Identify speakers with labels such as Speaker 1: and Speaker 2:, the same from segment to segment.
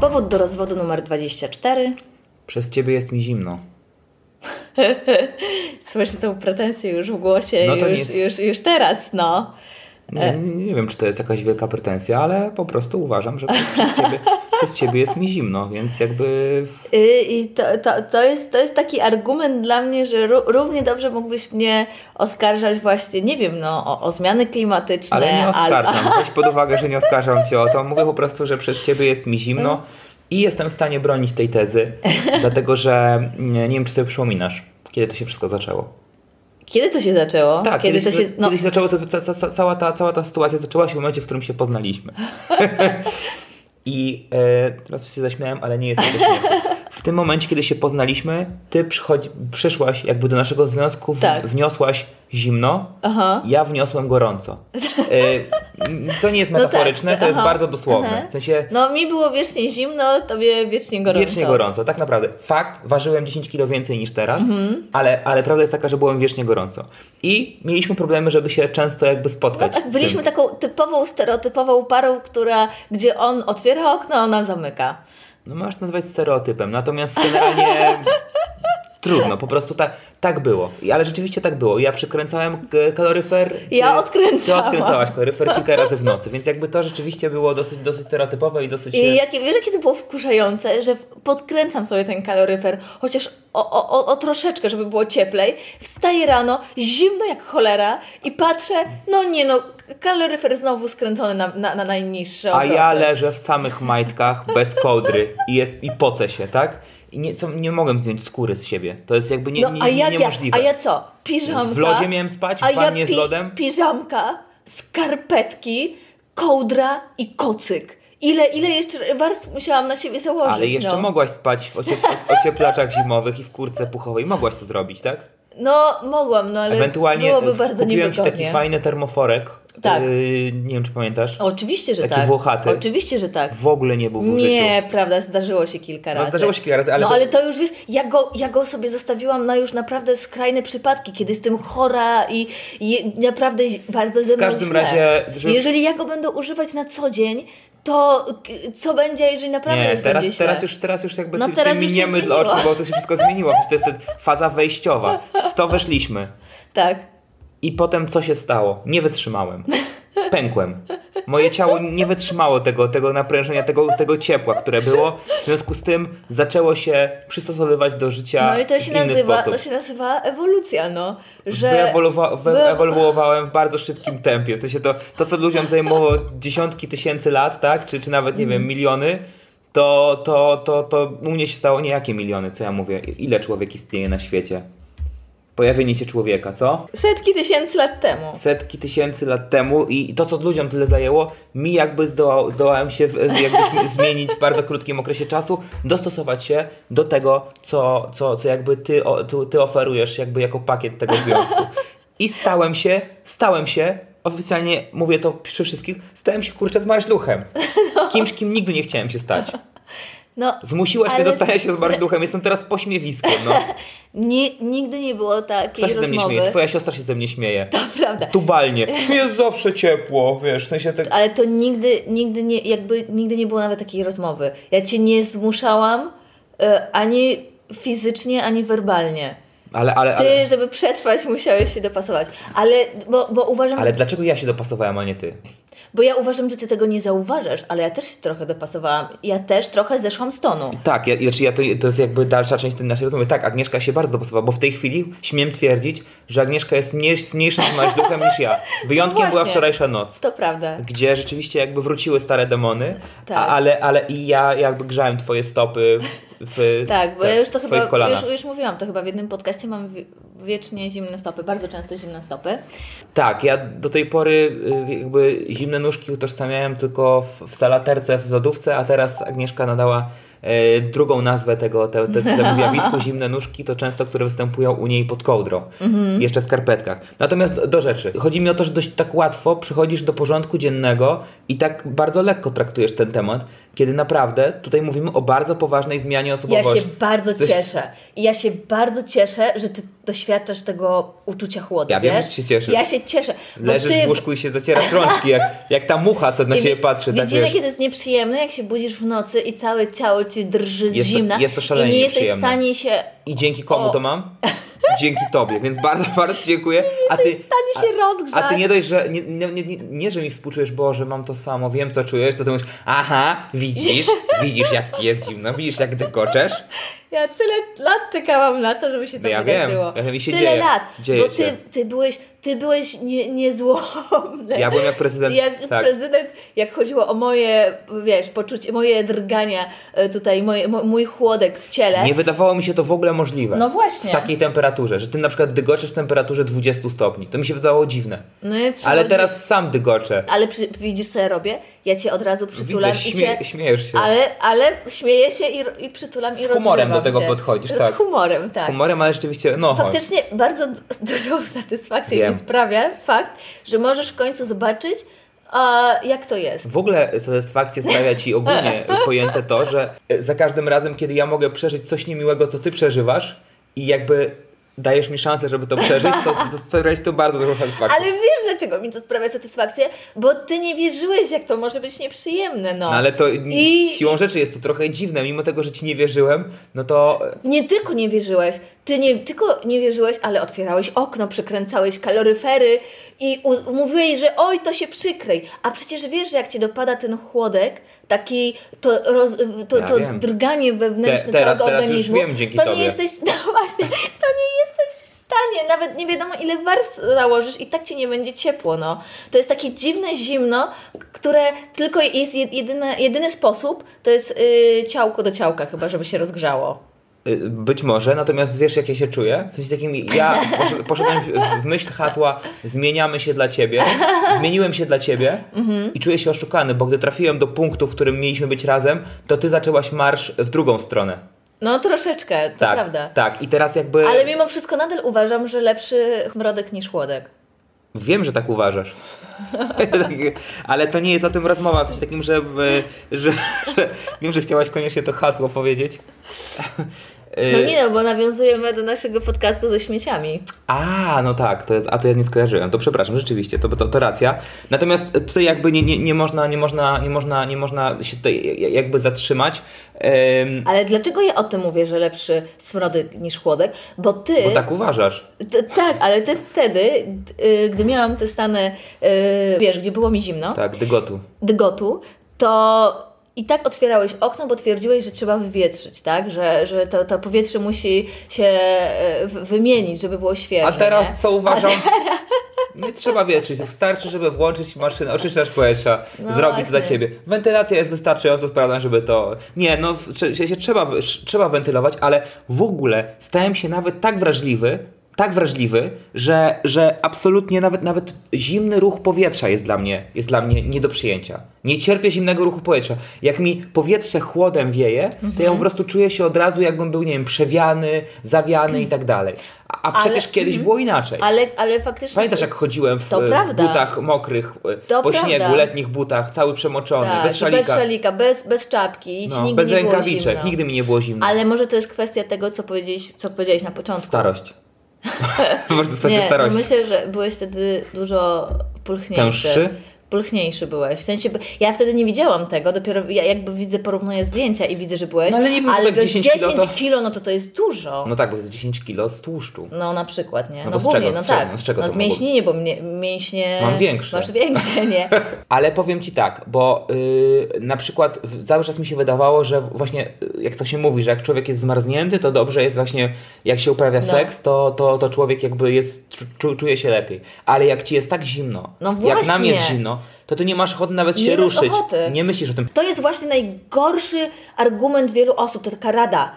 Speaker 1: Powód do rozwodu numer 24.
Speaker 2: Przez ciebie jest mi zimno.
Speaker 1: Słyszę tą pretensję już w głosie,
Speaker 2: No to
Speaker 1: już,
Speaker 2: nic.
Speaker 1: już, już teraz, no.
Speaker 2: Nie, nie wiem, czy to jest jakaś wielka pretensja, ale po prostu uważam, że przez ciebie, przez ciebie jest mi zimno, więc jakby
Speaker 1: Y, I to, to, to, jest, to jest taki argument dla mnie, że ró- równie dobrze mógłbyś mnie oskarżać właśnie, nie wiem, no, o, o zmiany klimatyczne.
Speaker 2: Ale nie
Speaker 1: al-
Speaker 2: oskarżam. Weź pod uwagę, że nie oskarżam cię o to. Mówię po prostu, że przez ciebie jest mi zimno i jestem w stanie bronić tej tezy, dlatego że nie, nie wiem, czy sobie przypominasz, kiedy to się wszystko zaczęło.
Speaker 1: Kiedy to się zaczęło?
Speaker 2: Tak,
Speaker 1: kiedy
Speaker 2: kiedyś,
Speaker 1: to się. No,
Speaker 2: kiedyś zaczęło to, ca, ca, ca, cała, ta, cała ta sytuacja zaczęła się w momencie, w którym się poznaliśmy. I e, teraz się zaśmiałem, ale nie jest to śmiech. W tym momencie, kiedy się poznaliśmy, ty przychodzi, przyszłaś jakby do naszego związku, w,
Speaker 1: Tak.
Speaker 2: wniosłaś zimno,
Speaker 1: Aha.
Speaker 2: ja wniosłem gorąco. E, m, to nie jest
Speaker 1: No tak,
Speaker 2: metaforyczne, to jest
Speaker 1: aha,
Speaker 2: bardzo dosłowne.
Speaker 1: aha.
Speaker 2: W sensie
Speaker 1: no, mi było wiecznie zimno, tobie wiecznie gorąco.
Speaker 2: wiecznie gorąco, tak naprawdę. Fakt, ważyłem 10 kilo więcej niż teraz,
Speaker 1: Mhm.
Speaker 2: ale, ale prawda jest taka, że byłem wiecznie gorąco. I mieliśmy problemy, żeby się często jakby
Speaker 1: No
Speaker 2: spotkać.
Speaker 1: tak,
Speaker 2: w
Speaker 1: byliśmy
Speaker 2: tym.
Speaker 1: taką typową, stereotypową parą, która, gdzie on otwiera okno, a ona zamyka.
Speaker 2: No masz nazwać stereotypem, natomiast generalnie trudno, po prostu tak, tak było. I- Ale rzeczywiście tak było. Ja przykręcałem k- kaloryfer.
Speaker 1: Ja
Speaker 2: ty-
Speaker 1: odkręcałam.
Speaker 2: Ty odkręcałaś kaloryfer kilka razy w nocy, więc jakby to rzeczywiście było dosyć, dosyć stereotypowe i dosyć...
Speaker 1: I jakie, wiesz, jakie to było wkurzające, że w- podkręcam sobie ten kaloryfer, chociaż o, o, o, o troszeczkę, żeby było cieplej. Wstaję rano, zimno jak cholera i patrzę, no nie no, kaloryfer znowu skręcony na, na, na najniższe
Speaker 2: A
Speaker 1: obroty.
Speaker 2: ja leżę w samych majtkach, bez kołdry i, jest, i poce się, tak? I nie, co, nie mogłem zdjąć skóry z siebie. To jest jakby nie,
Speaker 1: No,
Speaker 2: nie,
Speaker 1: a jak ja,
Speaker 2: niemożliwe.
Speaker 1: a ja co? Piżamka.
Speaker 2: W lodzie miałem spać, w
Speaker 1: a
Speaker 2: wannie
Speaker 1: ja
Speaker 2: z lodem?
Speaker 1: piżamka, skarpetki, kołdra i kocyk. Ile, ile jeszcze warstw musiałam na siebie założyć?
Speaker 2: Ale jeszcze
Speaker 1: no.
Speaker 2: mogłaś spać w ociep- ocieplaczach zimowych i w kurce puchowej. Mogłaś to zrobić, tak?
Speaker 1: No, mogłam, no ale
Speaker 2: Ewentualnie
Speaker 1: byłoby
Speaker 2: e,
Speaker 1: bardzo
Speaker 2: kupiłem ci
Speaker 1: niewygodnie.
Speaker 2: taki fajny termoforek.
Speaker 1: Tak.
Speaker 2: Yy, nie wiem, czy pamiętasz.
Speaker 1: Oczywiście, że
Speaker 2: Taki
Speaker 1: tak.
Speaker 2: włochaty.
Speaker 1: Oczywiście, że tak.
Speaker 2: W ogóle nie był w użyciu.
Speaker 1: Nie, prawda, zdarzyło się kilka razy.
Speaker 2: zdarzyło się kilka razy, ale
Speaker 1: No
Speaker 2: to-
Speaker 1: ale to już wiesz, ja go, ja go sobie zostawiłam na już naprawdę skrajne przypadki, kiedy jestem chora i, i naprawdę zi- bardzo ze mną
Speaker 2: każdym
Speaker 1: źle.
Speaker 2: razie, żeby-
Speaker 1: Jeżeli ja go będę używać na co dzień, to k- co będzie, jeżeli naprawdę
Speaker 2: Nie,
Speaker 1: już
Speaker 2: teraz,
Speaker 1: będzie źle?
Speaker 2: teraz, już, teraz już jakby
Speaker 1: No
Speaker 2: ty,
Speaker 1: teraz
Speaker 2: ty
Speaker 1: już się
Speaker 2: miniemy
Speaker 1: zmieniło.
Speaker 2: oczy, bo to się wszystko zmieniło. Przecież To jest ta faza wejściowa. W to weszliśmy.
Speaker 1: Tak.
Speaker 2: I potem co się stało? Nie wytrzymałem. Pękłem. Moje ciało nie wytrzymało tego, tego naprężenia, tego, tego ciepła, które było. W związku z tym zaczęło się przystosowywać do życia
Speaker 1: No i to się
Speaker 2: w inny
Speaker 1: nazywa,
Speaker 2: sposób.
Speaker 1: to się nazywa ewolucja, no. Że...
Speaker 2: Wyewoluwa- wy-
Speaker 1: wy-
Speaker 2: ewoluowałem w bardzo szybkim tempie. W sensie to, to co ludziom zajmowało dziesiątki tysięcy lat, tak? Czy, czy nawet, nie
Speaker 1: Mhm.
Speaker 2: wiem, miliony, to, to, to, to u mnie się stało niejakie miliony, co ja mówię. Ile człowiek istnieje na świecie? Pojawienie się człowieka, co?
Speaker 1: Setki tysięcy lat temu.
Speaker 2: setki tysięcy lat temu i to, co ludziom tyle zajęło, mi jakby zdoła, zdołałem się w, jakby zmi- zmienić w bardzo krótkim okresie czasu, dostosować się do tego, co, co, co jakby ty, o, tu- ty oferujesz jakby jako pakiet tego związku. I stałem się, stałem się, oficjalnie mówię to przy wszystkich, stałem się kurczę z marszluchem. Kimś, kim nigdy nie chciałem się stać.
Speaker 1: No,
Speaker 2: Zmusiłaś
Speaker 1: ale
Speaker 2: mnie do stania się z marszluchem, jestem teraz pośmiewiskiem. No.
Speaker 1: ni- nigdy nie było
Speaker 2: Kto
Speaker 1: takiej
Speaker 2: się ze mnie
Speaker 1: rozmowy.
Speaker 2: śmieje? Twoja siostra się ze mnie śmieje.
Speaker 1: Prawda.
Speaker 2: Tubalnie. Jest zawsze ciepło, wiesz, w sensie tak...
Speaker 1: Ale to nigdy, nigdy nie, jakby nigdy nie było nawet takiej rozmowy. Ja cię nie zmuszałam e, ani fizycznie, ani werbalnie.
Speaker 2: Ale, ale,
Speaker 1: Ty,
Speaker 2: ale,
Speaker 1: żeby przetrwać, musiałeś się dopasować. Ale, bo, bo uważam,
Speaker 2: ale
Speaker 1: że,
Speaker 2: dlaczego ja się dopasowałem, a nie ty?
Speaker 1: bo ja uważam, że ty tego nie zauważasz, ale ja też się trochę dopasowałam. Ja też trochę zeszłam z tonu.
Speaker 2: Tak, ja, znaczy ja to, to jest jakby dalsza część tej naszej rozmowy. Tak, Agnieszka się bardzo dopasowała, bo w tej chwili śmiem twierdzić, że Agnieszka jest mniej, z mniejszym maźduchem niż ja. Wyjątkiem
Speaker 1: No
Speaker 2: była
Speaker 1: właśnie.
Speaker 2: wczorajsza noc,
Speaker 1: To prawda.
Speaker 2: gdzie rzeczywiście jakby wróciły stare demony,
Speaker 1: Tak.
Speaker 2: a, ale, ale i ja jakby grzałem twoje stopy w
Speaker 1: Tak, bo
Speaker 2: te-
Speaker 1: Tak, ja już to
Speaker 2: Tak, w swoich
Speaker 1: chyba,
Speaker 2: kolanach.
Speaker 1: już, już mówiłam to chyba w jednym podcaście, mam wi- wiecznie zimne stopy, bardzo często zimne stopy.
Speaker 2: Tak, ja do tej pory y, jakby zimne nóżki utożsamiałem tylko w, w salaterce, w lodówce, a teraz Agnieszka nadała y, drugą nazwę tego, te, te, temu zjawisku zimne nóżki, to często, które występują u niej pod kołdrą,
Speaker 1: Mhm.
Speaker 2: jeszcze w skarpetkach. Natomiast do, do rzeczy. Chodzi mi o to, że dość tak łatwo przychodzisz do porządku dziennego i tak bardzo lekko traktujesz ten temat, kiedy naprawdę tutaj mówimy o bardzo poważnej zmianie
Speaker 1: Ja
Speaker 2: osobowości.
Speaker 1: się bardzo
Speaker 2: Coś-
Speaker 1: cieszę. I ja się bardzo cieszę, że ty doświadczasz tego uczucia chłodu.
Speaker 2: Ja wiem,
Speaker 1: wiesz?
Speaker 2: że się cieszysz.
Speaker 1: Ja się cieszę. bo
Speaker 2: Leżysz
Speaker 1: No ty...
Speaker 2: w łóżku i się zacierasz rączki, jak, jak ta mucha, co na
Speaker 1: I
Speaker 2: ciebie
Speaker 1: wi-
Speaker 2: patrzy. Tak
Speaker 1: Widzisz,
Speaker 2: wiesz.
Speaker 1: jakie to jest nieprzyjemne, jak się budzisz w nocy i całe ciało ci drży z
Speaker 2: Jest to-
Speaker 1: zimna.
Speaker 2: jest to szalenie
Speaker 1: I nie jesteś w
Speaker 2: nieprzyjemne.
Speaker 1: stanie się.
Speaker 2: I dzięki komu
Speaker 1: O.
Speaker 2: to mam? Dzięki tobie, więc bardzo, bardzo dziękuję. A ty,
Speaker 1: stanie się
Speaker 2: a,
Speaker 1: rozgrzać.
Speaker 2: a ty nie dość, że nie, nie, nie, nie, nie, że mi współczujesz, Boże, mam to samo, wiem co czujesz, to ty mówisz, aha, widzisz, widzisz jak ci jest zimno, widzisz jak dykoczesz.
Speaker 1: Ja tyle lat czekałam na to, żeby się to
Speaker 2: No ja wiem,
Speaker 1: wydarzyło.
Speaker 2: ja wiem, i się
Speaker 1: tyle
Speaker 2: dzieje.
Speaker 1: lat.
Speaker 2: Dzieje
Speaker 1: bo
Speaker 2: się.
Speaker 1: ty, ty byłeś, ty byłeś nie, niezłomny.
Speaker 2: Ja byłem jak prezydent,
Speaker 1: Jak
Speaker 2: tak.
Speaker 1: prezydent, jak chodziło o moje, wiesz, poczucie, moje drgania e, tutaj, moje, mo- mój chłodek w ciele.
Speaker 2: Nie wydawało mi się to w ogóle możliwe.
Speaker 1: No właśnie.
Speaker 2: W takiej temperaturze, że ty na przykład dygoczesz w temperaturze 20 stopni. To mi się wydawało dziwne.
Speaker 1: No i
Speaker 2: Ale
Speaker 1: przychodzi-
Speaker 2: teraz sam dygoczę.
Speaker 1: Ale przy, widzisz, co ja robię? Ja cię od razu przytulam
Speaker 2: Widzę,
Speaker 1: i
Speaker 2: śmie-
Speaker 1: cię...
Speaker 2: śmiejesz się.
Speaker 1: Ale, ale śmieję się i, ro- i przytulam i
Speaker 2: Z humorem
Speaker 1: rozgrzewam
Speaker 2: do tego
Speaker 1: cię.
Speaker 2: podchodzisz, tak.
Speaker 1: Z humorem, tak.
Speaker 2: Z humorem, ale rzeczywiście, no chodź.
Speaker 1: Faktycznie bardzo d- dużą satysfakcję
Speaker 2: Wiem.
Speaker 1: mi sprawia fakt, że możesz w końcu zobaczyć, a, jak to jest.
Speaker 2: W ogóle satysfakcję sprawia ci ogólnie pojęte to, że e, za każdym razem, kiedy ja mogę przeżyć coś niemiłego, co ty przeżywasz i jakby dajesz mi szansę, żeby to przeżyć, to z- z- sprawia ci to bardzo dużą satysfakcję.
Speaker 1: Ale wiesz, dlaczego mi to sprawia satysfakcję? Bo ty nie wierzyłeś, jak to może być nieprzyjemne, no.
Speaker 2: No, ale to n-
Speaker 1: I-
Speaker 2: siłą rzeczy jest to trochę dziwne, mimo tego, że ci nie wierzyłem, no to
Speaker 1: Nie tylko nie wierzyłeś, ty nie tylko nie wierzyłeś, ale otwierałeś okno, przykręcałeś kaloryfery i u- mówiłeś, że oj, to się przykryj. A przecież wiesz, że jak cię dopada ten chłodek, taki to, roz, to,
Speaker 2: Ja
Speaker 1: to
Speaker 2: wiem.
Speaker 1: drganie wewnętrzne
Speaker 2: Te- teraz-
Speaker 1: całego
Speaker 2: teraz już
Speaker 1: organizmu,
Speaker 2: wiem dzięki
Speaker 1: to
Speaker 2: tobie.
Speaker 1: nie jesteś, no właśnie, to nie jesteś w stanie, nawet nie wiadomo ile warstw założysz i tak ci nie będzie ciepło, no. To jest takie dziwne zimno, które tylko jest jed- jedyne, jedyny sposób, to jest yy, ciałko do ciałka chyba, żeby się rozgrzało.
Speaker 2: y, być może, natomiast wiesz, jak ja się czuję? W sensie takim, ja posz- poszedłem w, w myśl hasła zmieniamy się dla ciebie, zmieniłem się dla ciebie i czuję się oszukany, bo gdy trafiłem do punktu, w którym mieliśmy być razem, to ty zaczęłaś marsz w drugą stronę.
Speaker 1: No troszeczkę, to
Speaker 2: Tak,
Speaker 1: prawda.
Speaker 2: tak. I teraz jakby
Speaker 1: Ale mimo wszystko nadal uważam, że lepszy mrodek niż chłodek.
Speaker 2: wiem, że tak uważasz. Tak, Ale to nie jest o tym rozmowa, w sensie takim, że, e, że, że wiem, że chciałaś koniecznie to hasło powiedzieć. Y-
Speaker 1: No nie no, bo nawiązujemy do naszego podcastu ze śmieciami.
Speaker 2: A, no tak, to, a to ja nie skojarzyłem, to przepraszam, rzeczywiście, to, to, to racja. Natomiast tutaj jakby nie, nie, nie można, nie można, nie można, nie można się tutaj jakby zatrzymać. Em,
Speaker 1: Ale dlaczego ja o tym mówię, że lepszy smrodek niż chłodek? Bo ty...
Speaker 2: bo tak uważasz.
Speaker 1: T- tak, ale ty wtedy, d- y, gdy miałam te stany, y, wiesz, gdzie było mi zimno,
Speaker 2: Tak, dygotu.
Speaker 1: dygotu, to i tak otwierałeś okno, bo twierdziłeś, że trzeba wywietrzyć, tak? Że, że to, to powietrze musi się e, w- wymienić, żeby było świeże.
Speaker 2: A
Speaker 1: nie?
Speaker 2: teraz co uważam? Nie trzeba wietrzyć. Wystarczy, żeby włączyć maszynę, oczyszczacz powietrza,
Speaker 1: No
Speaker 2: zrobi to za
Speaker 1: właśnie.
Speaker 2: ciebie. Wentylacja jest wystarczająco sprawna, żeby to. Nie, no trze- się, się trzeba, wy- sz- trzeba wentylować, ale w ogóle stałem się nawet tak wrażliwy, tak wrażliwy, że, że absolutnie nawet nawet zimny ruch powietrza jest dla mnie jest dla mnie nie do przyjęcia. Nie cierpię zimnego ruchu powietrza. Jak mi powietrze chłodem wieje, to
Speaker 1: Mhm.
Speaker 2: ja po prostu czuję się od razu, jakbym był, nie wiem, przewiany, zawiany i tak dalej. A, a
Speaker 1: Ale-
Speaker 2: przecież kiedyś było inaczej.
Speaker 1: Mhm. Ale, ale faktycznie.
Speaker 2: Pamiętasz,
Speaker 1: to
Speaker 2: jak chodziłem w
Speaker 1: To
Speaker 2: e,
Speaker 1: prawda.
Speaker 2: butach mokrych, e,
Speaker 1: To
Speaker 2: po
Speaker 1: prawda.
Speaker 2: śniegu, letnich butach, cały przemoczony,
Speaker 1: Tak,
Speaker 2: bez szalika,
Speaker 1: bez szalika, bez, bez czapki,
Speaker 2: no,
Speaker 1: ci nigdy
Speaker 2: bez
Speaker 1: nie było
Speaker 2: rękawiczek,
Speaker 1: zimno.
Speaker 2: nigdy mi nie było zimno.
Speaker 1: Ale może to jest kwestia tego, co powiedziałeś, co powiedziałeś na początku.
Speaker 2: Starość. Może spać
Speaker 1: nie, no
Speaker 2: starość.
Speaker 1: myślę, że byłeś wtedy dużo pulchniejszy.
Speaker 2: Tęższy?
Speaker 1: Pulchniejszy byłeś. W sensie, by- ja wtedy nie widziałam tego, dopiero ja jakby widzę, porównuję zdjęcia i widzę, że byłeś.
Speaker 2: No ale nie wiem, tak
Speaker 1: to
Speaker 2: 10 kilo
Speaker 1: 10
Speaker 2: to-
Speaker 1: kilo, no to to jest dużo.
Speaker 2: No tak, bo to jest 10 kilo z tłuszczu.
Speaker 1: No na przykład, nie?
Speaker 2: No
Speaker 1: No,
Speaker 2: bo z
Speaker 1: głównie,
Speaker 2: czego-
Speaker 1: no
Speaker 2: z czego-
Speaker 1: tak.
Speaker 2: z czego
Speaker 1: no
Speaker 2: to
Speaker 1: z
Speaker 2: mogło być?
Speaker 1: mięśni, nie, bo mnie, mięśnie...
Speaker 2: Mam większe.
Speaker 1: Masz większe, nie?
Speaker 2: Ale powiem Ci tak, bo y, na przykład w- cały czas mi się wydawało, że właśnie y, jak to się mówi, że jak człowiek jest zmarznięty, to dobrze jest właśnie, jak się uprawia
Speaker 1: No.
Speaker 2: seks, to, to, to człowiek jakby jest, czu, czuje się lepiej. Ale jak Ci jest tak zimno,
Speaker 1: No
Speaker 2: jak nam
Speaker 1: właśnie.
Speaker 2: jest zimno, to ty nie masz ochoty nawet
Speaker 1: Nie
Speaker 2: się
Speaker 1: masz
Speaker 2: ruszyć.
Speaker 1: ochoty.
Speaker 2: Nie myślisz o tym.
Speaker 1: To jest właśnie najgorszy argument wielu osób, to taka rada,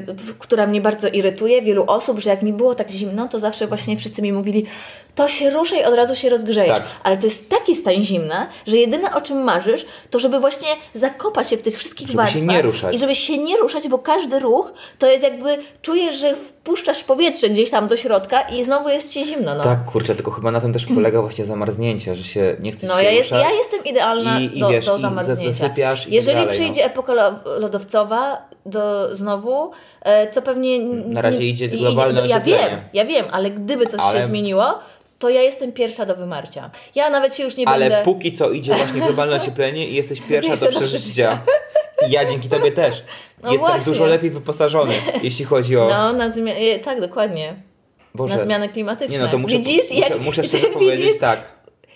Speaker 1: yy, w- która mnie bardzo irytuje, wielu osób, że jak mi było tak zimno, to zawsze właśnie wszyscy mi mówili, to się ruszaj, od razu się rozgrzejesz.
Speaker 2: Tak.
Speaker 1: Ale to jest taki stan zimna, że jedyne o czym marzysz, to żeby właśnie zakopać się w tych wszystkich
Speaker 2: Żeby się
Speaker 1: warstwach
Speaker 2: nie ruszać.
Speaker 1: i żeby się nie ruszać, bo każdy ruch to jest jakby, czujesz, że wpuszczasz powietrze gdzieś tam do środka i znowu jest Ci zimno. No,
Speaker 2: Tak, kurczę, tylko chyba na tym też polega właśnie zamarznięcie, że się nie chce
Speaker 1: No,
Speaker 2: się
Speaker 1: ja, jest,
Speaker 2: ruszać.
Speaker 1: ja jestem idealna
Speaker 2: I- i
Speaker 1: do,
Speaker 2: wiesz,
Speaker 1: do
Speaker 2: i
Speaker 1: zamarznięcia.
Speaker 2: zasypiasz i tak
Speaker 1: Jeżeli
Speaker 2: dalej,
Speaker 1: przyjdzie epoka lo- lodowcowa do, znowu, e, co pewnie. n-
Speaker 2: Hmm, Na razie
Speaker 1: nie-
Speaker 2: idzie globalne
Speaker 1: Ja
Speaker 2: ocieplenie.
Speaker 1: wiem, ja wiem, ale gdyby coś
Speaker 2: Ale-
Speaker 1: się zmieniło, to ja jestem pierwsza do wymarcia. Ja nawet się już nie
Speaker 2: Ale
Speaker 1: będę.
Speaker 2: póki co idzie właśnie globalne ocieplenie i jesteś pierwsza
Speaker 1: Miejsce
Speaker 2: do
Speaker 1: do
Speaker 2: przeżycia. I Ja dzięki tobie też.
Speaker 1: No
Speaker 2: Jestem
Speaker 1: właśnie.
Speaker 2: dużo lepiej wyposażony, jeśli chodzi o...
Speaker 1: No, na zmianę. Tak, dokładnie.
Speaker 2: Boże.
Speaker 1: Na zmiany klimatyczne.
Speaker 2: Nie no, to muszę,
Speaker 1: Widzisz,
Speaker 2: muszę,
Speaker 1: jak,
Speaker 2: muszę szczerze
Speaker 1: widzisz,
Speaker 2: powiedzieć tak.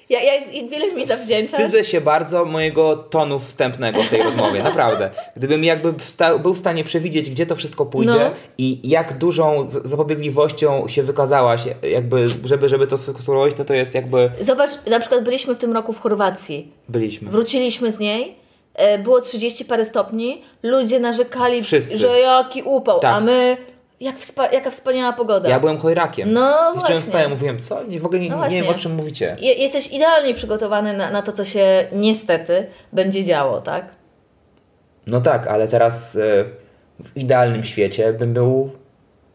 Speaker 1: Jak, jak, jak wiele mi zawdzięczasz.
Speaker 2: Wstydzę się bardzo mojego tonu wstępnego w tej rozmowie, naprawdę. Gdybym jakby wsta- był w stanie przewidzieć, gdzie to wszystko pójdzie
Speaker 1: No.
Speaker 2: i jak dużą z- zapobiegliwością się wykazałaś, jakby, żeby, żeby to skonstruować, to to jest jakby
Speaker 1: Zobacz, na przykład byliśmy w tym roku w Chorwacji.
Speaker 2: byliśmy.
Speaker 1: Wróciliśmy z niej, e, było 30 parę stopni, ludzie narzekali,
Speaker 2: Wszyscy.
Speaker 1: że jaki upał,
Speaker 2: Tak.
Speaker 1: a my, jak wspa- jaka wspaniała pogoda.
Speaker 2: Ja byłem chojrakiem.
Speaker 1: Tak. No
Speaker 2: Jeszcze
Speaker 1: właśnie.
Speaker 2: spałem, mówiłem, co? Nie, w ogóle nie,
Speaker 1: No
Speaker 2: nie wiem, o
Speaker 1: właśnie.
Speaker 2: czym mówicie.
Speaker 1: Je- Jesteś idealnie przygotowany na, na to, co się niestety będzie działo, tak?
Speaker 2: No tak, ale teraz y, w idealnym świecie bym był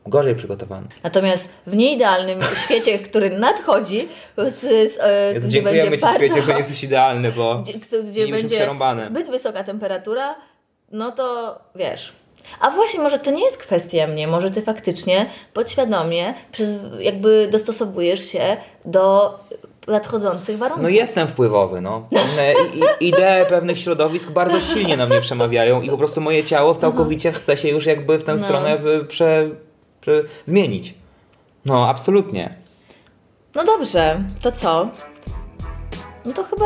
Speaker 2: gorzej przygotowany.
Speaker 1: Natomiast w nieidealnym świecie, który nadchodzi, z, z, e,
Speaker 2: Jezu,
Speaker 1: gdzie będzie
Speaker 2: dziękujemy Ci,
Speaker 1: bardzo,
Speaker 2: świecie, że nie jesteś idealny, bo...
Speaker 1: gdzie, gdzie, gdzie
Speaker 2: mieliśmy
Speaker 1: będzie
Speaker 2: przerąbane.
Speaker 1: zbyt wysoka temperatura, no to wiesz. A właśnie, może to nie jest kwestia mnie, może ty faktycznie podświadomie przez, jakby dostosowujesz się do nadchodzących warunków.
Speaker 2: No jestem wpływowy, no. Pewne i- i- idee pewnych środowisk bardzo silnie na mnie przemawiają i po prostu moje ciało całkowicie chce się już jakby w tę
Speaker 1: No.
Speaker 2: stronę y, prze, prze, zmienić. No, absolutnie.
Speaker 1: No dobrze, to co? No to chyba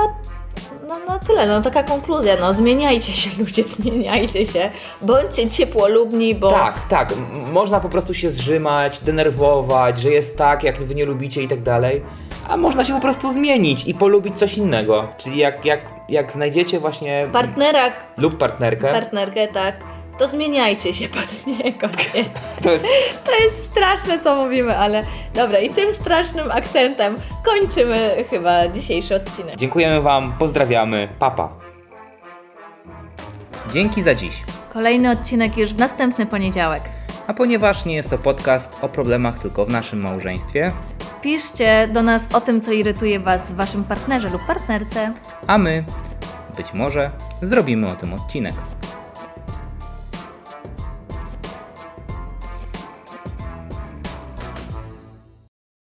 Speaker 1: no, no tyle, no taka konkluzja, no zmieniajcie się ludzie, zmieniajcie się, bądźcie ciepłolubni, bo
Speaker 2: Tak, tak. m- Można po prostu się zrzymać, denerwować, że jest tak, jak wy nie lubicie i tak dalej. A można się po prostu zmienić i polubić coś innego. Czyli jak, jak, jak znajdziecie właśnie
Speaker 1: partnera,
Speaker 2: lub partnerkę,
Speaker 1: partnerkę, tak, to zmieniajcie się pod niego, nie?
Speaker 2: to jest
Speaker 1: To jest straszne, co mówimy, ale dobra, i tym strasznym akcentem kończymy chyba dzisiejszy odcinek.
Speaker 2: Dziękujemy Wam, pozdrawiamy, papa. Dzięki za dziś.
Speaker 1: Kolejny odcinek już w następny poniedziałek.
Speaker 2: A ponieważ nie jest to podcast o problemach tylko w naszym małżeństwie,
Speaker 1: Piszcie do nas o tym, co irytuje Was w Waszym partnerze lub partnerce.
Speaker 2: a my, być może, zrobimy o tym odcinek.